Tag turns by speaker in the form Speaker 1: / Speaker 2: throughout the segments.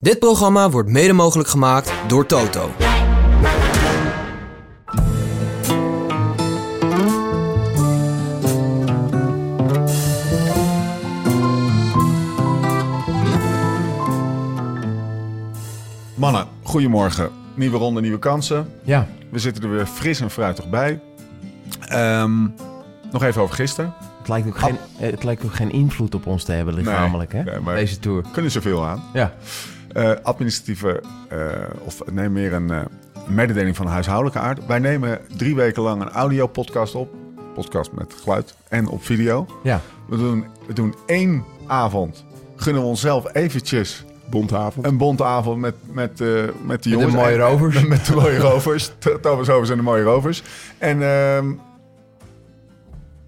Speaker 1: Dit programma wordt mede mogelijk gemaakt door Toto.
Speaker 2: Mannen, goedemorgen. Nieuwe ronde, nieuwe kansen.
Speaker 3: Ja,
Speaker 2: We zitten er weer fris en fruitig bij. Ehm, nog even over gisteren.
Speaker 3: het lijkt ook geen, eh, het lijkt ook geen invloed op ons te hebben lichamelijk, hè?
Speaker 2: nee, maar-
Speaker 3: Deze tour.
Speaker 2: Kunnen zoveel aan.
Speaker 3: Ja.
Speaker 2: Eh, administratieve, eh, of nee, meer een eh, mededeling van huishoudelijke aard. Wij nemen drie weken lang een audio-podcast op. Podcast met geluid en op video.
Speaker 3: ja.
Speaker 2: We doen, we doen één avond. Gunnen we onszelf eventjes
Speaker 4: Bonte avond.
Speaker 2: een bonte avond met, met, eh, met de jongens.
Speaker 3: mooie
Speaker 2: En-
Speaker 3: rovers.
Speaker 2: en Met de mooie rovers. T- Thomas Rovers en de mooie rovers. En ehm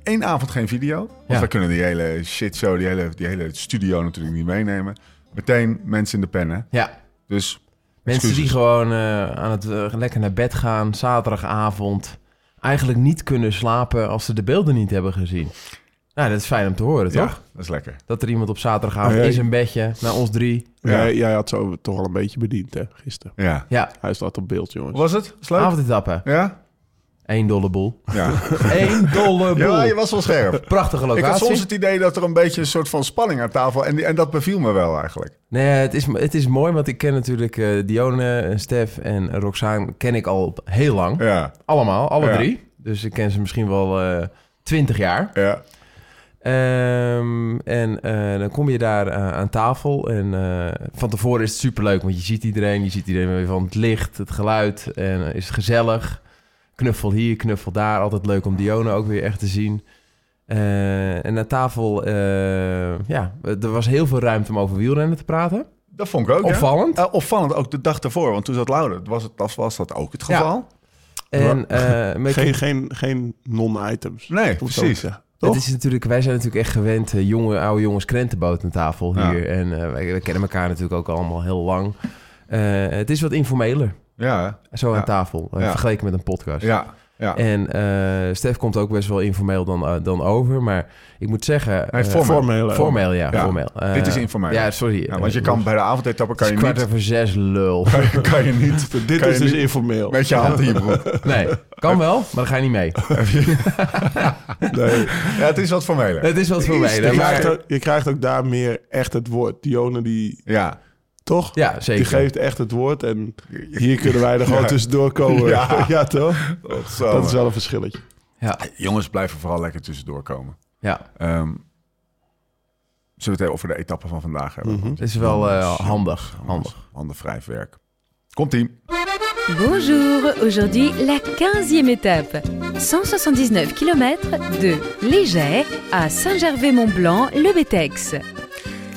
Speaker 2: één avond geen video. Want
Speaker 3: Ja.
Speaker 2: wij kunnen die hele shitshow, die hele, die hele studio natuurlijk niet meenemen. Meteen mensen in de pennen.
Speaker 3: ja.
Speaker 2: Dus
Speaker 3: Mensen die
Speaker 2: excuses.
Speaker 3: gewoon eh, aan het eh, lekker naar bed gaan, zaterdagavond, eigenlijk niet kunnen slapen als ze de beelden niet hebben gezien. Nou, dat is fijn om te horen,
Speaker 2: Ja,
Speaker 3: toch?
Speaker 2: dat is lekker.
Speaker 3: Dat er iemand op zaterdagavond
Speaker 4: Ja, ja.
Speaker 3: is in bedje, naar ons drie.
Speaker 2: Ja.
Speaker 4: Jij, jij had zo toch al een beetje bediend, hè, gisteren.
Speaker 2: Ja.
Speaker 3: Ja,
Speaker 4: Hij staat op beeld, jongens.
Speaker 2: Hoe was het? Is leuk?
Speaker 3: avondetappen.
Speaker 2: Ja?
Speaker 3: Eén dolle boel.
Speaker 2: Ja.
Speaker 3: Eén dolle boel.
Speaker 2: ja, je was wel scherp.
Speaker 3: Prachtige
Speaker 2: Ik
Speaker 3: locatie.
Speaker 2: had soms het idee dat er een beetje een soort van spanning aan tafel... en, die- en dat beviel me wel eigenlijk.
Speaker 3: Nee, het is, het is mooi, want ik ken natuurlijk eh, Dione, eh, Stef en Roxane ken ik al heel lang.
Speaker 2: Ja,
Speaker 3: Allemaal, alle
Speaker 2: Ja.
Speaker 3: drie. Dus ik ken ze misschien wel eh, twintig jaar.
Speaker 2: ja.
Speaker 3: Ehm, en eh, dan kom je daar eh, aan tafel. En eh, van tevoren is het superleuk, want je ziet iedereen. Je ziet iedereen weer van het licht, het geluid. En eh, is het gezellig. Knuffel hier, knuffel daar. Altijd leuk om Dione ook weer echt te zien. Eh, en aan tafel, eh, ja, er was heel veel ruimte om over wielrennen te praten.
Speaker 2: Dat vond ik ook, ja.
Speaker 3: Opvallend.
Speaker 2: Eh, opvallend ook de dag daarvoor, want toen zat Lauder. Was, het, was, was dat ook het geval?
Speaker 3: En eh, met-
Speaker 4: Geen, geen, geen non-items.
Speaker 2: Nee,
Speaker 4: Hoeft ook
Speaker 2: precies.
Speaker 4: niet, ja.
Speaker 3: het
Speaker 4: Toch?
Speaker 3: is natuurlijk, wij zijn natuurlijk echt gewend, eh, jonge, oude jongens krentenboot aan tafel
Speaker 2: Ja.
Speaker 3: hier. En eh, wij, wij kennen elkaar natuurlijk ook allemaal heel lang. Eh, het is wat informeler,
Speaker 2: Ja,
Speaker 3: zo
Speaker 2: Ja.
Speaker 3: aan tafel, eh,
Speaker 2: Ja.
Speaker 3: vergeleken met een podcast.
Speaker 2: ja, ja.
Speaker 3: En eh, Stef komt ook best wel informeel dan, eh, dan over, maar ik moet zeggen...
Speaker 2: Hij
Speaker 3: eh,
Speaker 2: vormt-
Speaker 4: Formeel. hè.
Speaker 3: formeel, ja,
Speaker 2: Ja.
Speaker 3: formeel. Eh,
Speaker 2: Dit is informeel.
Speaker 3: Ja, sorry.
Speaker 2: Ja, Nou, want je kan bij de avondetappen
Speaker 3: Het
Speaker 2: kan
Speaker 3: is
Speaker 2: je
Speaker 3: kwart
Speaker 2: niet...
Speaker 3: over zes, lul.
Speaker 2: Kan je niet
Speaker 4: Dit
Speaker 2: kan
Speaker 4: is
Speaker 2: je
Speaker 4: dus
Speaker 2: niet
Speaker 4: informeel.
Speaker 2: met je hand in je broek.
Speaker 3: Nee, kan wel, maar dan ga je niet mee.
Speaker 4: Nee.
Speaker 2: Ja, het is wat formeler.
Speaker 3: Het is wat voor
Speaker 2: Is
Speaker 3: mij.
Speaker 2: dit
Speaker 4: Je,
Speaker 3: hè,
Speaker 4: krijgt
Speaker 3: maar-
Speaker 4: ook, je krijgt ook daar meer echt het woord. Dione, die
Speaker 2: Ja.
Speaker 4: toch?
Speaker 3: Ja,
Speaker 4: Die
Speaker 3: zeker.
Speaker 4: geeft echt het woord. En hier kunnen wij er gewoon
Speaker 2: Ja.
Speaker 4: tussendoor komen.
Speaker 2: Ja.
Speaker 4: Ja, toch?
Speaker 2: Zo.
Speaker 4: Dat is wel een verschilletje.
Speaker 3: Ja,
Speaker 2: Jongens, blijven vooral lekker tussendoor komen.
Speaker 3: ja.
Speaker 2: Ehm, zullen we het even over de etappe van vandaag hebben?
Speaker 4: Mhm.
Speaker 3: Het is wel eh,
Speaker 2: Jongens,
Speaker 3: handig.
Speaker 2: jongens,
Speaker 3: handig.
Speaker 2: Handen wrijf werk. Komt-ie.
Speaker 5: Bonjour, aujourd'hui la 15e étape. 179 km de Léger à Saint-Gervais-Mont-Blanc, le Bétex.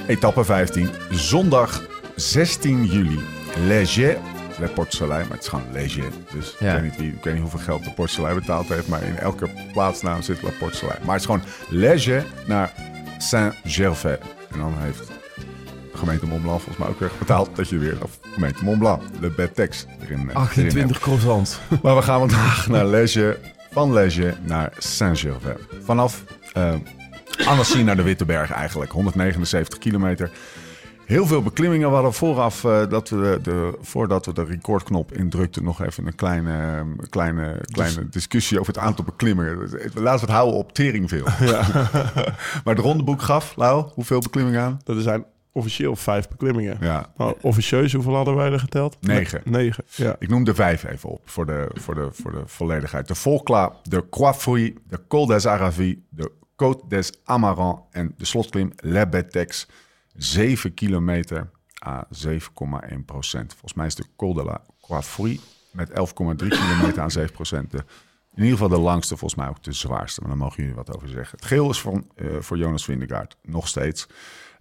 Speaker 2: Etappe 15. Zondag 16 juli. Léger. Le Portselij, maar het is gewoon Léger. Dus
Speaker 3: Ja.
Speaker 2: ik, weet niet wie, ik weet niet hoeveel geld de Portselij betaald heeft, maar in elke plaatsnaam zit Le Portselij. Maar het is gewoon Léger naar Saint-Gervais. En dan heeft de gemeente Montblanc volgens mij ook weer betaald dat je weer, of gemeente Montblanc, Le Betex erin eh, erin hebt.
Speaker 3: croissants.
Speaker 2: Maar we gaan vandaag naar Lesje, van Lesje naar Saint-Gervais. Vanaf eh Annecy naar de Witteberg eigenlijk, 179 kilometer. Heel veel beklimmingen We hadden vooraf, eh, dat we de, voordat we de recordknop indrukten, nog even een kleine, eh, kleine, kleine discussie over het aantal beklimmingen. Dus, eh, Laten we het houden op teringveel. maar het rondeboek gaf, Lau, hoeveel beklimmingen aan?
Speaker 4: Dat zijn officieel vijf beklimmingen.
Speaker 2: Ja,
Speaker 4: Maar officieus, hoeveel hadden wij er geteld?
Speaker 2: Negen.
Speaker 4: Ne- Negen, ja.
Speaker 2: Ik noem de vijf even op voor de, voor de, voor de volledigheid. De Volcla, de Croix-Fouille, de Col des Aravis, de Côte des Amarants en de slotklim Le Betex. 7 kilometer à 7,1 procent. Volgens mij is de Col de la Croix-Fouille met 11,3 kilometer aan 7 procent. De, in ieder geval de langste, volgens mij ook de zwaarste. Maar daar mogen jullie wat over zeggen. Het geel is voor, voor Jonas Vindegaard, nog steeds.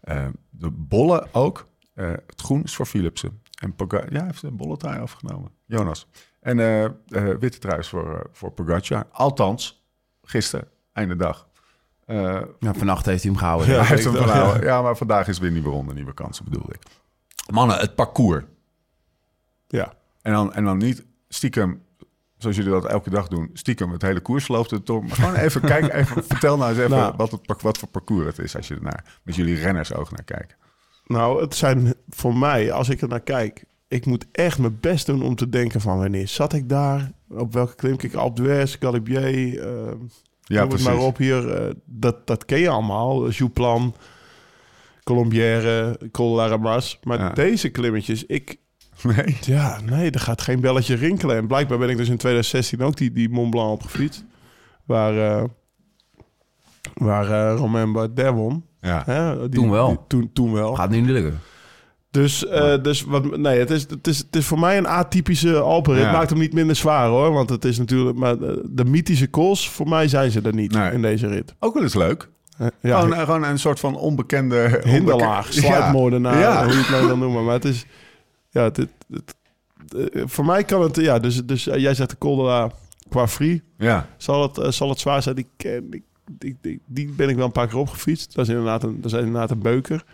Speaker 2: Eh, de bollen ook. Eh, het groen is voor Philipsen. En Poga ja, hij heeft een bolle trui afgenomen. Jonas. En eh, eh, witte trui is voor, eh, voor Pogacar. Althans, gisteren, einde dag. Eh,
Speaker 3: Nou, vannacht heeft hij hem gehouden.
Speaker 2: hij heeft hem
Speaker 4: ik dacht,
Speaker 2: verhouden. Ja, maar vandaag is weer nieuwe ronde, nieuwe kansen bedoelde ik. Mannen, het parcours.
Speaker 4: Ja.
Speaker 2: En dan, en dan niet stiekem, zoals jullie dat elke dag doen, stiekem het hele koersloop er door. Maar gewoon even kijken, even, vertel nou eens even
Speaker 4: Nou.
Speaker 2: wat, het, par- wat voor parcours het is als je er naar, met jullie renners oog naar kijkt.
Speaker 4: Nou, het zijn voor mij, als ik er naar kijk... Ik moet echt mijn best doen om te denken van wanneer zat ik daar? Op welke klim? Kijk, Alpe d'Huez, Galibier, eh,
Speaker 2: Ja,
Speaker 4: Noem het
Speaker 2: precies.
Speaker 4: maar op hier. eh, dat, dat ken je allemaal. Eh, Jouplan, Colombière, Col Laramas. Maar
Speaker 2: Ja.
Speaker 4: deze klimmetjes, ik...
Speaker 2: Nee.
Speaker 4: Ja, nee, er gaat geen belletje rinkelen. En blijkbaar ben ik dus in 2016 ook die, die Mont Blanc opgefietst. Waar, eh, waar eh, Romain Bardet won.
Speaker 2: Ja.
Speaker 4: Hè, die-
Speaker 3: Toen wel.
Speaker 4: die- toen, toen wel.
Speaker 3: Gaat nu niet lukken.
Speaker 4: Dus, eh, dus wat, nee, het is, het, is, het is voor mij een atypische Alpenrit.
Speaker 2: Ja.
Speaker 4: Het maakt hem niet minder zwaar hoor. Want het is natuurlijk... Maar eh, de mythische calls, voor mij zijn ze er niet
Speaker 2: Nee. Oh, nou,
Speaker 4: in deze rit.
Speaker 2: Ook wel eens leuk.
Speaker 4: Eh, ja,
Speaker 2: Gewoon, gewoon een soort van onbekende...
Speaker 4: hinderlaag,
Speaker 2: onbeke-
Speaker 4: sluipmoordenaar,
Speaker 2: Ja.
Speaker 4: hoe je het nou wil noemen. Maar het is, ja, het, het- het- eh, voor mij kan het, ja, dus, dus eh, jij zegt de Caldera qua free,
Speaker 2: Ja.
Speaker 4: zal het, eh, zal het zwaar zijn? Die, ken, ik- die, die, die ben ik wel een paar keer opgefietst. Dat is inderdaad een, dat is inderdaad een beuker.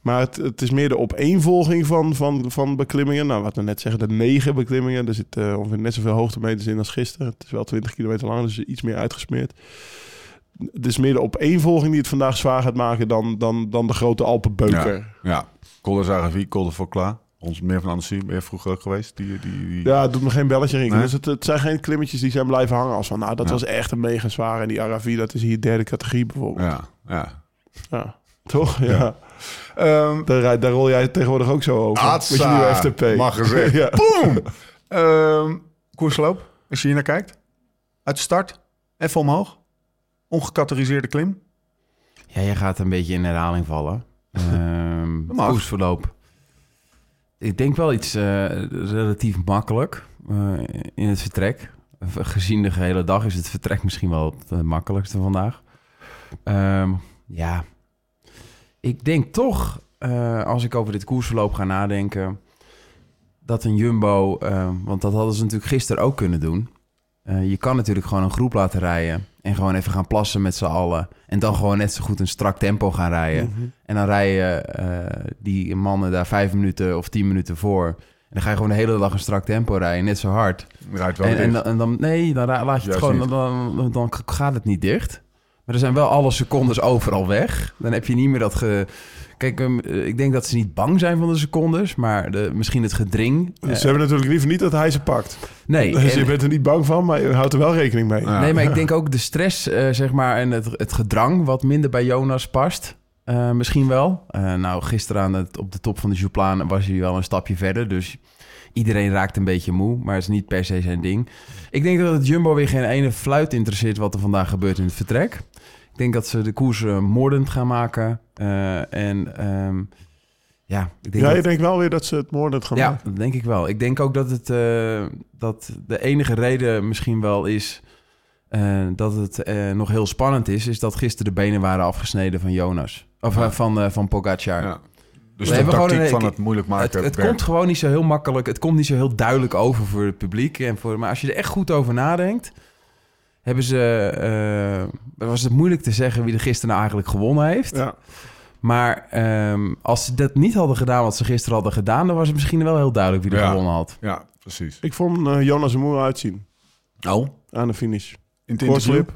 Speaker 4: Maar het, het is meer de opeenvolging van, van, van beklimmingen. Nou, wat we net zeggen, de negen beklimmingen. Er zitten eh, ongeveer net zoveel hoogtemeters in als gisteren. Het is wel 20 kilometer lang, dus iets meer uitgesmeerd. Het is meer de opeenvolging die het vandaag zwaar gaat maken dan, dan, dan de grote Alpenbeuker. Ja,
Speaker 2: Ja. Col de Zaravie, Col de Vaucla. Ons meer van Annecy, ben je vroeger ook geweest? Die, die, die...
Speaker 4: het doet me geen belletje rinken.
Speaker 2: Nee.
Speaker 4: Dus het, het zijn geen klimmetjes die zijn blijven hangen. Als van, nou, dat
Speaker 2: Ja.
Speaker 4: was echt een mega zwaar. En die Aravi, dat is hier derde categorie bijvoorbeeld.
Speaker 2: Ja, ja.
Speaker 4: Ja. Toch? Ja.
Speaker 2: Ja. Ehm,
Speaker 4: Daar, rij- daar rol jij tegenwoordig ook zo over.
Speaker 2: Atsa,
Speaker 4: Met je nieuwe FTP.
Speaker 2: mag gezegd.
Speaker 4: ja.
Speaker 2: Boom! Ehm, koersloop, als je hier naar kijkt. Uit de start, even omhoog. Ongecategoriseerde klim.
Speaker 3: Ja, jij gaat een beetje in herhaling vallen. Ehm
Speaker 2: Dat mag.
Speaker 3: koersverloop. Ik denk wel iets eh, relatief makkelijk eh, in het vertrek. Gezien de gehele dag is het vertrek misschien wel het eh, makkelijkste vandaag. Ehm, ja, ik denk toch, eh, als ik over dit koersverloop ga nadenken, dat een Jumbo, eh, want dat hadden ze natuurlijk gisteren ook kunnen doen. Eh, je kan natuurlijk gewoon een groep laten rijden en gewoon even gaan plassen met z'n allen. En dan gewoon net zo goed een strak tempo gaan rijden. En dan rij je eh, die mannen daar vijf minuten of tien minuten voor. En dan ga je gewoon de hele dag een strak tempo rijden, net zo hard.
Speaker 2: Rijdt wel
Speaker 3: En, en,
Speaker 2: dicht.
Speaker 3: dan, en dan- nee, dan ra- laat je
Speaker 2: Juist
Speaker 3: het gewoon,
Speaker 2: niet.
Speaker 3: dan, dan, dan gaat het niet dicht. Maar er zijn wel alle secondes overal weg. Dan heb je niet meer dat ge... Kijk, ehm, eh, ik denk dat ze niet bang zijn van de secondes, maar de, misschien het gedring. eh,
Speaker 4: Dus Ze hebben natuurlijk liever niet dat hij ze pakt.
Speaker 3: nee,
Speaker 4: Dus je
Speaker 3: en-
Speaker 4: bent er niet bang van, maar je houdt er wel rekening mee.
Speaker 2: Ja.
Speaker 3: Nee, maar ik denk ook de stress, eh, zeg maar, en het, het gedrang wat minder bij Jonas past. eh, misschien wel. Eh, nou, gisteren aan het, op de top van de Jouplaan was hij wel een stapje verder. Dus iedereen raakt een beetje moe, maar het is niet per se zijn ding. Ik denk dat het Jumbo weer geen ene fluit interesseert wat er vandaag gebeurt in het vertrek. Ik denk dat ze de koers eh, moordend gaan maken. Eh, en ehm, ja, ik denk
Speaker 4: ja,
Speaker 3: dat-
Speaker 4: je denkt wel weer dat ze het moordend gaan
Speaker 3: ja,
Speaker 4: maken.
Speaker 3: dat denk ik wel. Ik denk ook dat het eh, dat de enige reden misschien wel is eh, dat het eh, nog heel spannend is, is dat gisteren de benen waren afgesneden van Jonas. Of eh, van, eh, van Pogacar.
Speaker 2: Ja. Dus
Speaker 3: We
Speaker 2: de
Speaker 3: hebben gewoon
Speaker 2: tactiek
Speaker 3: een-
Speaker 2: van het moeilijk
Speaker 3: Het,
Speaker 2: maken.
Speaker 3: het
Speaker 2: werkt.
Speaker 3: komt gewoon niet zo heel makkelijk. Het komt niet zo heel duidelijk over voor het publiek. En voor, maar als je er echt goed over nadenkt, hebben ze, eh, was het moeilijk te zeggen wie er gisteren nou eigenlijk gewonnen heeft.
Speaker 4: Ja.
Speaker 3: Maar ehm, als ze dat niet hadden gedaan wat ze gisteren hadden gedaan, dan was het misschien wel heel duidelijk wie er
Speaker 2: Ja.
Speaker 3: gewonnen had.
Speaker 2: Ja, precies.
Speaker 4: Ik vond eh, Jonas er moe uitzien
Speaker 2: Oh,
Speaker 4: aan de finish.
Speaker 2: in het interview?
Speaker 4: Korslip.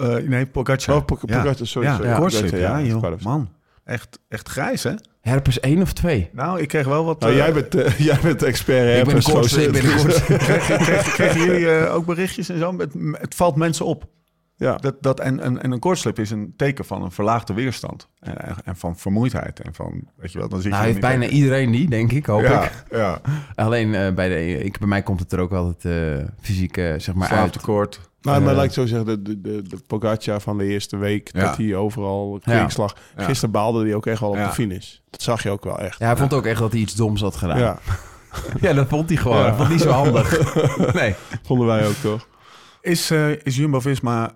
Speaker 2: Eh, nee, Pogacar.
Speaker 4: Oh, Pog- Pogacar, sorry.
Speaker 2: Ja,
Speaker 4: sorry.
Speaker 2: ja.
Speaker 4: Pogacar,
Speaker 2: Korslip, ja,
Speaker 4: dat is
Speaker 2: joh.
Speaker 4: kwalijk.
Speaker 2: Man, echt, echt grijs, hè?
Speaker 3: Herpes 1 of 2?
Speaker 2: Nou, ik kreeg wel wat...
Speaker 4: Nou,
Speaker 2: eh,
Speaker 4: jij, bent, eh, jij bent expert. hè,
Speaker 3: Ik ben
Speaker 4: per
Speaker 3: kort,
Speaker 4: slot.
Speaker 3: ik ben kort.
Speaker 2: Kregen, kregen, kregen jullie eh, ook berichtjes en zo? Het, het valt mensen op.
Speaker 4: Ja.
Speaker 2: Dat, dat, en, en, en een koortslip is een teken van een verlaagde weerstand. En, en- en van vermoeidheid. En van, weet je wel, dan zit
Speaker 3: Nou,
Speaker 2: je...
Speaker 3: heeft
Speaker 2: er niet
Speaker 3: bijna iedereen die, denk ik, hoop
Speaker 2: bij. ja,
Speaker 3: ik.
Speaker 2: ja.
Speaker 3: Alleen eh, bij, de, ik, bij mij komt het er ook altijd eh, fysiek eh, zeg maar uit.
Speaker 2: Slaaptekort.
Speaker 4: Nou, maar
Speaker 3: Eh.
Speaker 4: lijkt zo zeggen, de, de, de, de Pogacar van de eerste week,
Speaker 2: Ja.
Speaker 4: dat hij overal kwinkslag.
Speaker 2: Ja.
Speaker 4: Gisteren baalde hij ook echt wel op
Speaker 2: Ja.
Speaker 4: de finish. Dat zag je ook wel echt.
Speaker 3: Ja, hij vond ook echt dat hij iets doms had gedaan. Ja,
Speaker 4: ja.
Speaker 3: dat vond hij gewoon.
Speaker 4: Ja.
Speaker 3: Dat vond hij zo handig. Nee.
Speaker 4: vonden wij ook toch.
Speaker 2: Is, eh, is Jumbo-Visma...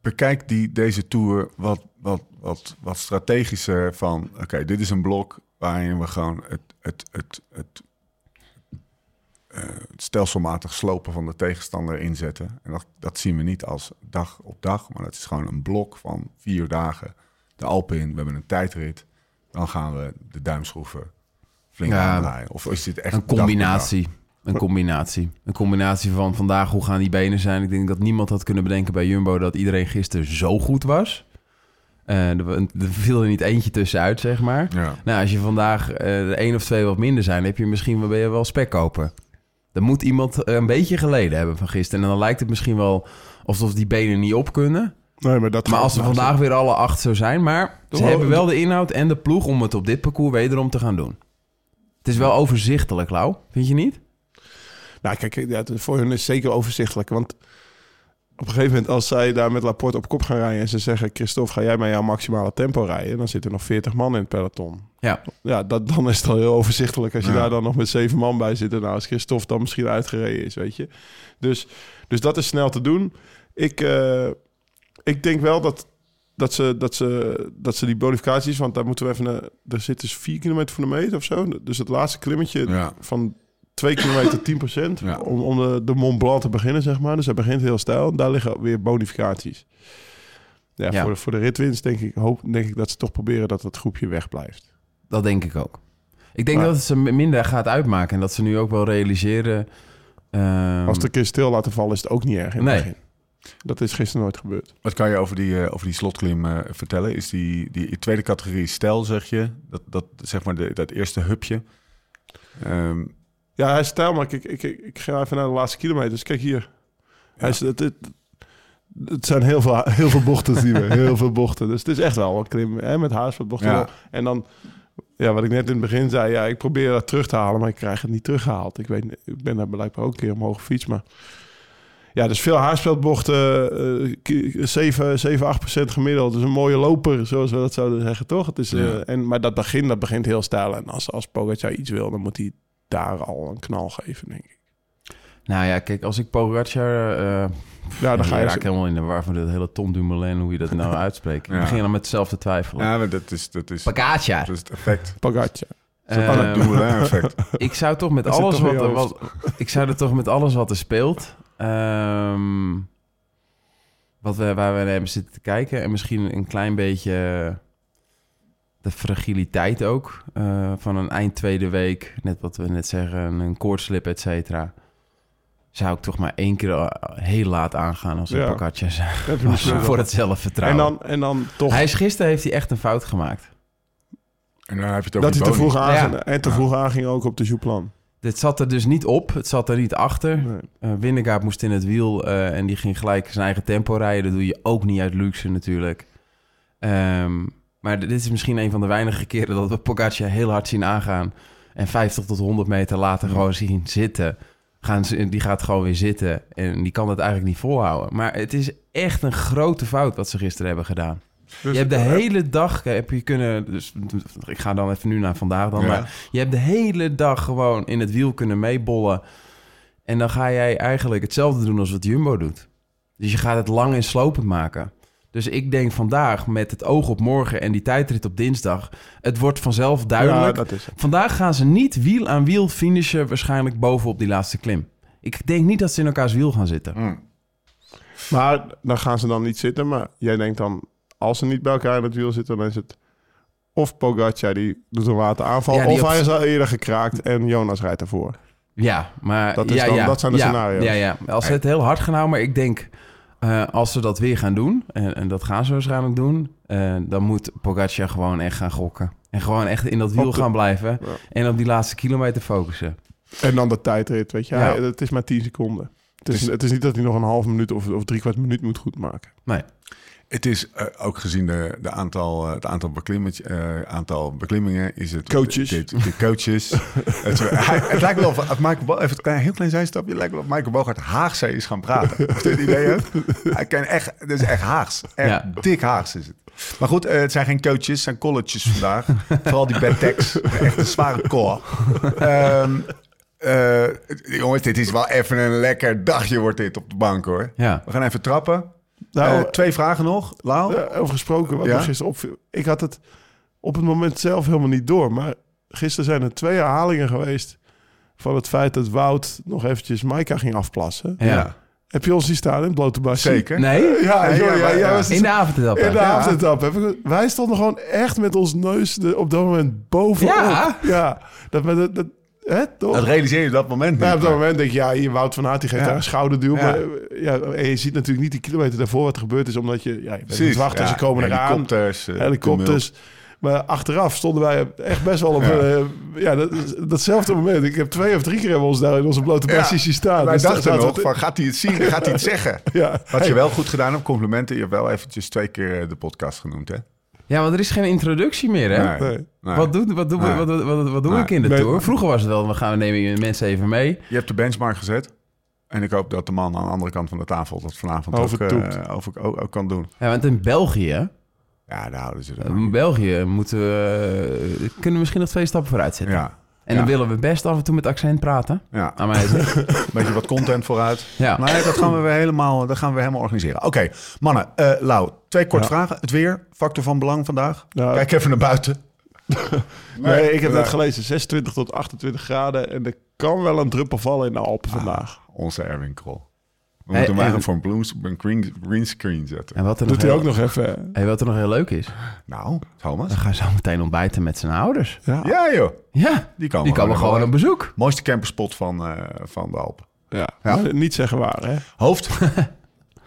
Speaker 2: Bekijk die, deze tour wat, wat, wat, wat strategischer van... Oké, dit is een blok waarin we gewoon het, het, het, het, eh, het stelselmatig slopen van de tegenstander inzetten. En dat, dat zien we niet als dag op dag, maar dat is gewoon een blok van vier dagen. De Alpen in, we hebben een tijdrit. Dan gaan we de duimschroeven flink
Speaker 3: Ja.
Speaker 2: aandraaien. Of is dit echt
Speaker 3: Een combinatie. Een combinatie. Een combinatie van vandaag, hoe gaan die benen zijn? Ik denk dat niemand had kunnen bedenken bij Jumbo dat iedereen gisteren zo goed was. Eh, er, wa- er viel er niet eentje tussenuit, zeg maar.
Speaker 2: Ja.
Speaker 3: Nou, als je vandaag eh, er één of twee wat minder zijn, heb je misschien wel- ben je wel spekkoper. Dan moet iemand eh, een beetje geleden hebben van gisteren. En dan lijkt het misschien wel alsof die benen niet op kunnen.
Speaker 4: Nee, maar dat
Speaker 3: Maar
Speaker 4: gaat
Speaker 3: als er
Speaker 4: nou
Speaker 3: vandaag weer alle acht zo zijn. Maar ze
Speaker 4: Oh,
Speaker 3: hebben wel de inhoud en de ploeg om het op dit parcours wederom te gaan doen. Het is wel overzichtelijk, Lau. Vind je niet?
Speaker 4: zo. Nou, kijk, ja, het- voor hun is het zeker overzichtelijk. Want op een gegeven moment, als zij daar met Laporte op kop gaan rijden... en ze zeggen, Christophe, ga jij maar jouw maximale tempo rijden? Dan zitten nog 40 man in het peloton.
Speaker 3: Ja.
Speaker 4: Ja, dat, dan is het al heel overzichtelijk als je
Speaker 2: Ja.
Speaker 4: daar dan nog met zeven man bij zit. En nou, als Christophe dan misschien uitgereden is, weet je. Dus, dus dat is snel te doen. Ik, eh, ik denk wel dat, dat, ze, dat, ze, dat ze die bonificaties... Want daar moeten we even... naar- er zit dus vier kilometer voor de meter of zo. Dus het laatste klimmetje
Speaker 2: Ja.
Speaker 4: van twee kilometer 10 procent.
Speaker 2: Ja.
Speaker 4: Om, om de, de Mont Blanc te beginnen, zeg maar. Dus hij begint heel stijl. En daar liggen weer bonificaties. Ja,
Speaker 3: Ja.
Speaker 4: Voor, de- voor de ritwinst denk ik, hoop, denk ik dat ze toch proberen dat dat groepje wegblijft.
Speaker 3: Dat denk ik ook. Ik denk
Speaker 4: Maar-
Speaker 3: dat het ze minder gaat uitmaken. En dat ze nu ook wel realiseren... ehm,
Speaker 4: Als de keer stil laten vallen is het ook niet erg in het
Speaker 3: Nee.
Speaker 4: begin. Dat is gisteren nooit gebeurd.
Speaker 2: Wat kan je over die, eh, over die slotklim eh, vertellen? Is die, die tweede categorie stijl, zeg je? Dat, dat, zeg maar de, dat eerste hupje. Ehm,
Speaker 4: Ja, hij is stijl, maar kijk, ik, ik, ik ga even naar de laatste kilometers. Kijk hier. Hij is, het, het, het zijn heel veel, heel veel bochten, zien we. Heel veel bochten. Dus het is echt wel een klim hè, met haast wat bochten.
Speaker 2: Ja.
Speaker 4: wel. En dan, ja, wat ik net in het begin zei. Ja, ik probeer dat terug te halen, maar ik krijg het niet teruggehaald. Ik, weet, niet- ik ben daar blijkbaar ook een keer omhoog gefietst, maar... Ja, dus veel haarspeldbochten, eh, ki- 7, 7, 8 procent gemiddeld. Dus een mooie loper, zoals we dat zouden zeggen, toch? Het is, eh,
Speaker 2: Ja.
Speaker 4: en, maar dat begin, dat begint heel stijl. En als, als Pogacar iets wil, dan moet hij daar al een knal geven, denk ik.
Speaker 3: Nou ja, kijk, als ik Pogacar... eh,
Speaker 4: Ja, Oh, dan ga je... dus
Speaker 3: raakt helemaal in de war van dit hele Tom Dumoulin, hoe je dat nou uitspreekt. Ik
Speaker 2: Ja.
Speaker 3: begin dan met zelf te twijfelen.
Speaker 2: ja, maar dat is, dat is, dat
Speaker 3: Pogacar.
Speaker 2: is het effect.
Speaker 4: Pogacar.
Speaker 3: Eh,
Speaker 2: Oh, dat Dumoulin-effect.
Speaker 3: ik zou toch met
Speaker 4: Dat zit
Speaker 3: alles
Speaker 4: toch in
Speaker 3: wat,
Speaker 4: je
Speaker 3: er, wat ik zou er toch met alles wat er speelt, ehm, wat we, waar we naar hebben zitten te kijken en misschien een klein beetje de fragiliteit ook eh, van een eind tweede week, net wat we net zeggen, een koortslip, et cetera. Zou ik toch maar één keer eh, heel laat aangaan als een
Speaker 4: Ja.
Speaker 3: pakketje
Speaker 4: Heb je misschien
Speaker 3: Ah, voor
Speaker 4: wel.
Speaker 3: het zelfvertrouwen.
Speaker 4: En dan, en dan toch
Speaker 3: Hij is, gisteren heeft hij echt een fout gemaakt.
Speaker 2: En dan heb je het over
Speaker 4: dat
Speaker 2: die
Speaker 4: hij te
Speaker 2: boni.
Speaker 4: vroeg aan
Speaker 3: Ja.
Speaker 4: en te
Speaker 2: Ja.
Speaker 4: vroeg aanging ook op de Jouplan.
Speaker 3: Dit zat er dus niet op, het zat er niet achter.
Speaker 4: Nee.
Speaker 3: eh Windegaard moest in het wiel eh, en die ging gelijk zijn eigen tempo rijden. Dat doe je ook niet uit luxe natuurlijk. Ehm, maar dit is misschien een van de weinige keren dat we Pogacar heel hard zien aangaan. En 50 tot 100 meter later gewoon zien zitten. Gaan ze, die gaat gewoon weer zitten en die kan het eigenlijk niet volhouden. Maar het is echt een grote fout wat ze gisteren hebben gedaan.
Speaker 2: Dus
Speaker 3: je hebt de hele dag eh, heb je kunnen... Dus, ik ga dan even nu naar vandaag dan.
Speaker 2: Ja.
Speaker 3: Maar je hebt de hele dag gewoon in het wiel kunnen meebollen. En dan ga jij eigenlijk hetzelfde doen als wat Jumbo doet. Dus je gaat het lang en slopend maken. Dus ik denk vandaag, met het oog op morgen en die tijdrit op dinsdag... het wordt vanzelf
Speaker 4: Ja,
Speaker 3: duidelijk.
Speaker 4: dat is het.
Speaker 3: Vandaag gaan ze niet wiel aan wiel finishen... waarschijnlijk bovenop die laatste klim. Ik denk niet dat ze in elkaars wiel gaan zitten.
Speaker 2: Mm.
Speaker 4: Maar dan gaan ze dan niet zitten. Maar jij denkt dan, als ze niet bij elkaar in het wiel zitten, dan is het of Pogacar die doet een late aanval,
Speaker 3: Ja, die
Speaker 4: of
Speaker 3: op-
Speaker 4: hij is al eerder gekraakt en Jonas rijdt ervoor.
Speaker 3: Ja, maar...
Speaker 4: Dat is
Speaker 3: ja,
Speaker 4: dan-
Speaker 3: ja,
Speaker 4: dat zijn de
Speaker 3: ja,
Speaker 4: scenario's.
Speaker 3: Ja, ja. Als ze het heel hard gaan houden, maar ik denk... eh, als ze dat weer gaan doen, en, en dat gaan ze waarschijnlijk doen... eh, dan moet Pogacar gewoon echt gaan gokken. En gewoon echt in dat wiel
Speaker 4: Op de-
Speaker 3: gaan blijven.
Speaker 4: Ja.
Speaker 3: En op die laatste kilometer focussen.
Speaker 4: En dan de tijdrit, weet je.
Speaker 3: Ja.
Speaker 4: Hij- het is maar 10 seconden. Het is, het is niet dat hij nog een halve minuut of, of drie kwart minuut moet goedmaken.
Speaker 3: Nee.
Speaker 2: Het is eh, ook gezien de, de aantal, eh, het aantal, beklimmetje- eh, aantal beklimmingen. Is het,
Speaker 4: Coaches.
Speaker 2: De, de- de coaches. het, eh, hij- het lijkt wel of het Michael Bo- even een klein- heel klein zijstapje. Het lijkt wel of Michael Bogart Haagse is gaan praten. Of je het idee hebt? Hij kan echt, het is echt Haags. Echt
Speaker 3: Ja.
Speaker 2: dik Haags is het. Maar goed, eh, het zijn geen coaches, het zijn colleges vandaag. Vooral die bad techs. Echt een zware call. Ehm, eh, jongens, dit is wel even een lekker dagje wordt dit op de bank hoor.
Speaker 3: Ja.
Speaker 2: We gaan even trappen.
Speaker 4: Nou,
Speaker 2: Eh, twee vragen nog, Lau.
Speaker 4: eh, over gesproken, wat
Speaker 2: Ja?
Speaker 4: me gisteren opviel. Ik had het op het moment zelf helemaal niet door. Maar gisteren zijn er twee herhalingen geweest van het feit dat Wout nog eventjes Maika ging afplassen.
Speaker 3: Ja.
Speaker 4: Heb je ons die staan in het blote basje?
Speaker 2: Zeker.
Speaker 3: Nee?
Speaker 4: Ja,
Speaker 2: Ja,
Speaker 4: ja,
Speaker 2: ja,
Speaker 4: ja,
Speaker 2: ja.
Speaker 4: was
Speaker 3: In de avondetappe.
Speaker 4: In de
Speaker 2: Ja.
Speaker 4: avondetap. heb ik- Wij stonden gewoon echt met ons neus de- op dat moment bovenop.
Speaker 3: Ja.
Speaker 4: Ja. Dat, met het- dat, Hè, toch?
Speaker 2: Dat realiseer je op dat moment niet.
Speaker 4: Nou, op dat moment denk je, Oh. ja, hier, Wout van Aert die geeft
Speaker 2: Ja.
Speaker 4: daar een schouderduw.
Speaker 2: Ja.
Speaker 4: Maar eh, ja, en je ziet natuurlijk niet die kilometer daarvoor wat er gebeurd is. Omdat je, ja, je bent aan het
Speaker 2: Precies,
Speaker 4: wachten,
Speaker 2: ja.
Speaker 4: ze komen eraan.
Speaker 2: Helikopters. eh,
Speaker 4: Helikopters. Maar achteraf stonden wij echt best wel op
Speaker 2: Ja.
Speaker 4: eh, ja, dat, datzelfde moment. Ik heb twee of drie keer hebben we ons daar in onze blote
Speaker 2: Ja.
Speaker 4: besties zien staan.
Speaker 2: Wij
Speaker 4: Dus dat
Speaker 2: dachten
Speaker 4: gaat
Speaker 2: nog,
Speaker 4: wat-
Speaker 2: van, gaat hij het zien? Gaat hij het zeggen?
Speaker 4: Ja.
Speaker 2: Had je wel goed gedaan op complimenten. Je hebt wel eventjes twee keer eh, de podcast genoemd, hè?
Speaker 3: Ja, want er is geen introductie meer, hè?
Speaker 2: Nee,
Speaker 4: Nee.
Speaker 2: nee.
Speaker 3: Wat doe, wat doe,
Speaker 2: Nee.
Speaker 3: wat, wat, wat, wat doe
Speaker 2: Nee.
Speaker 3: ik in de
Speaker 4: Nee.
Speaker 3: tour? Vroeger was het wel, we gaan we nemen mensen even mee.
Speaker 2: Je hebt de benchmark gezet. En ik hoop dat de man aan de andere kant van de tafel dat vanavond ook,
Speaker 4: Overtoept.
Speaker 2: eh, over, ook, ook kan doen.
Speaker 3: Ja, want in België,
Speaker 2: Ja, daar houden ze er
Speaker 3: in
Speaker 2: van.
Speaker 3: België moeten we, eh, kunnen we misschien nog twee stappen vooruit zetten.
Speaker 2: Ja,
Speaker 3: En dan
Speaker 2: Ja.
Speaker 3: willen we best af en toe met accent praten.
Speaker 2: ja.
Speaker 3: Aan mij is het.
Speaker 2: Beetje wat content vooruit.
Speaker 3: Ja.
Speaker 2: Maar dat gaan we weer helemaal, dat gaan we helemaal organiseren. Oké, mannen. eh Lau, twee korte
Speaker 4: Ja.
Speaker 2: vragen. Het weer, factor van belang vandaag.
Speaker 4: Ja.
Speaker 2: Kijk even naar buiten.
Speaker 4: Nou, Nee, ik heb
Speaker 2: Ja.
Speaker 4: net gelezen, 26 tot 28 graden. En er kan wel een druppel vallen in de Alpen
Speaker 2: Ah.
Speaker 4: vandaag.
Speaker 2: Onze Erwin Krol. We
Speaker 3: Hey,
Speaker 2: moeten hem
Speaker 3: en-
Speaker 2: eigenlijk voor een, bloes, een green, green screen zetten.
Speaker 3: En wat er
Speaker 4: Doet
Speaker 3: nog
Speaker 4: hij
Speaker 3: heel-
Speaker 4: ook nog even.
Speaker 3: Hey, wat er nog heel leuk is,
Speaker 2: Nou, Thomas.
Speaker 3: we gaan zo meteen ontbijten met zijn ouders.
Speaker 4: Ja.
Speaker 2: Ja joh,
Speaker 3: Ja,
Speaker 2: die kan
Speaker 3: die komen gewoon op bezoek.
Speaker 2: Mooiste camperspot van, eh, van de Alpen.
Speaker 4: Ja.
Speaker 2: Ja.
Speaker 4: Maar Niet zeggen waar, hè?
Speaker 2: Hoofd.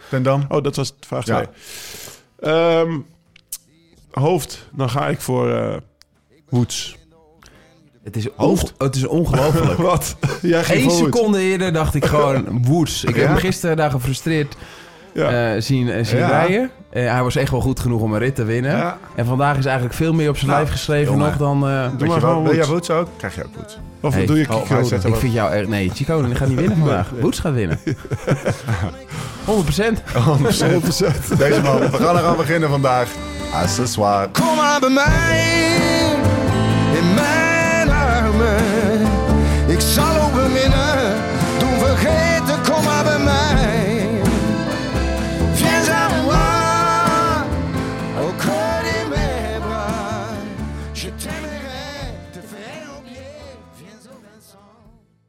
Speaker 2: Ten Dam.
Speaker 4: Oh, dat was vraag
Speaker 2: Ja.
Speaker 4: 2. hoofd, dan ga ik voor eh Woods.
Speaker 3: Het is,
Speaker 2: Hoofd.
Speaker 3: onge- het is ongelooflijk.
Speaker 4: Wat? Jij ging
Speaker 3: Eén
Speaker 4: voor Woods.
Speaker 3: seconde eerder dacht ik gewoon woeds. Ik heb
Speaker 2: Ja?
Speaker 3: hem gisteren daar gefrustreerd
Speaker 4: Ja.
Speaker 3: eh, zien, eh, zien
Speaker 2: Ja.
Speaker 3: rijden. Eh, hij was echt wel goed genoeg om een rit te winnen.
Speaker 2: Ja.
Speaker 3: En vandaag is eigenlijk veel meer op zijn
Speaker 2: Nou,
Speaker 3: lijf geschreven
Speaker 2: jongen.
Speaker 3: nog dan... eh,
Speaker 2: Weet je
Speaker 4: maar gewoon
Speaker 2: wel, wil jij
Speaker 4: Woods.
Speaker 2: Woods ook? Krijg je ook Woods.
Speaker 4: Of
Speaker 3: Hey.
Speaker 4: doe je
Speaker 2: Oh, hij
Speaker 4: Kiko?
Speaker 2: zet-
Speaker 3: ik vind jou echt... Nee, Chico die gaat niet winnen vandaag. Woods gaat winnen. 100%.
Speaker 2: 100%. Deze man, we gaan eraan beginnen vandaag. Accessoire.
Speaker 6: Kom maar bij mij in mijn armen. Ik zal ook beminnen, doen vergeten, kom maar bij mij. Viens à moi, au creux de mes bras. Je t'aimerai, te ferai oublier, viens au Vincent.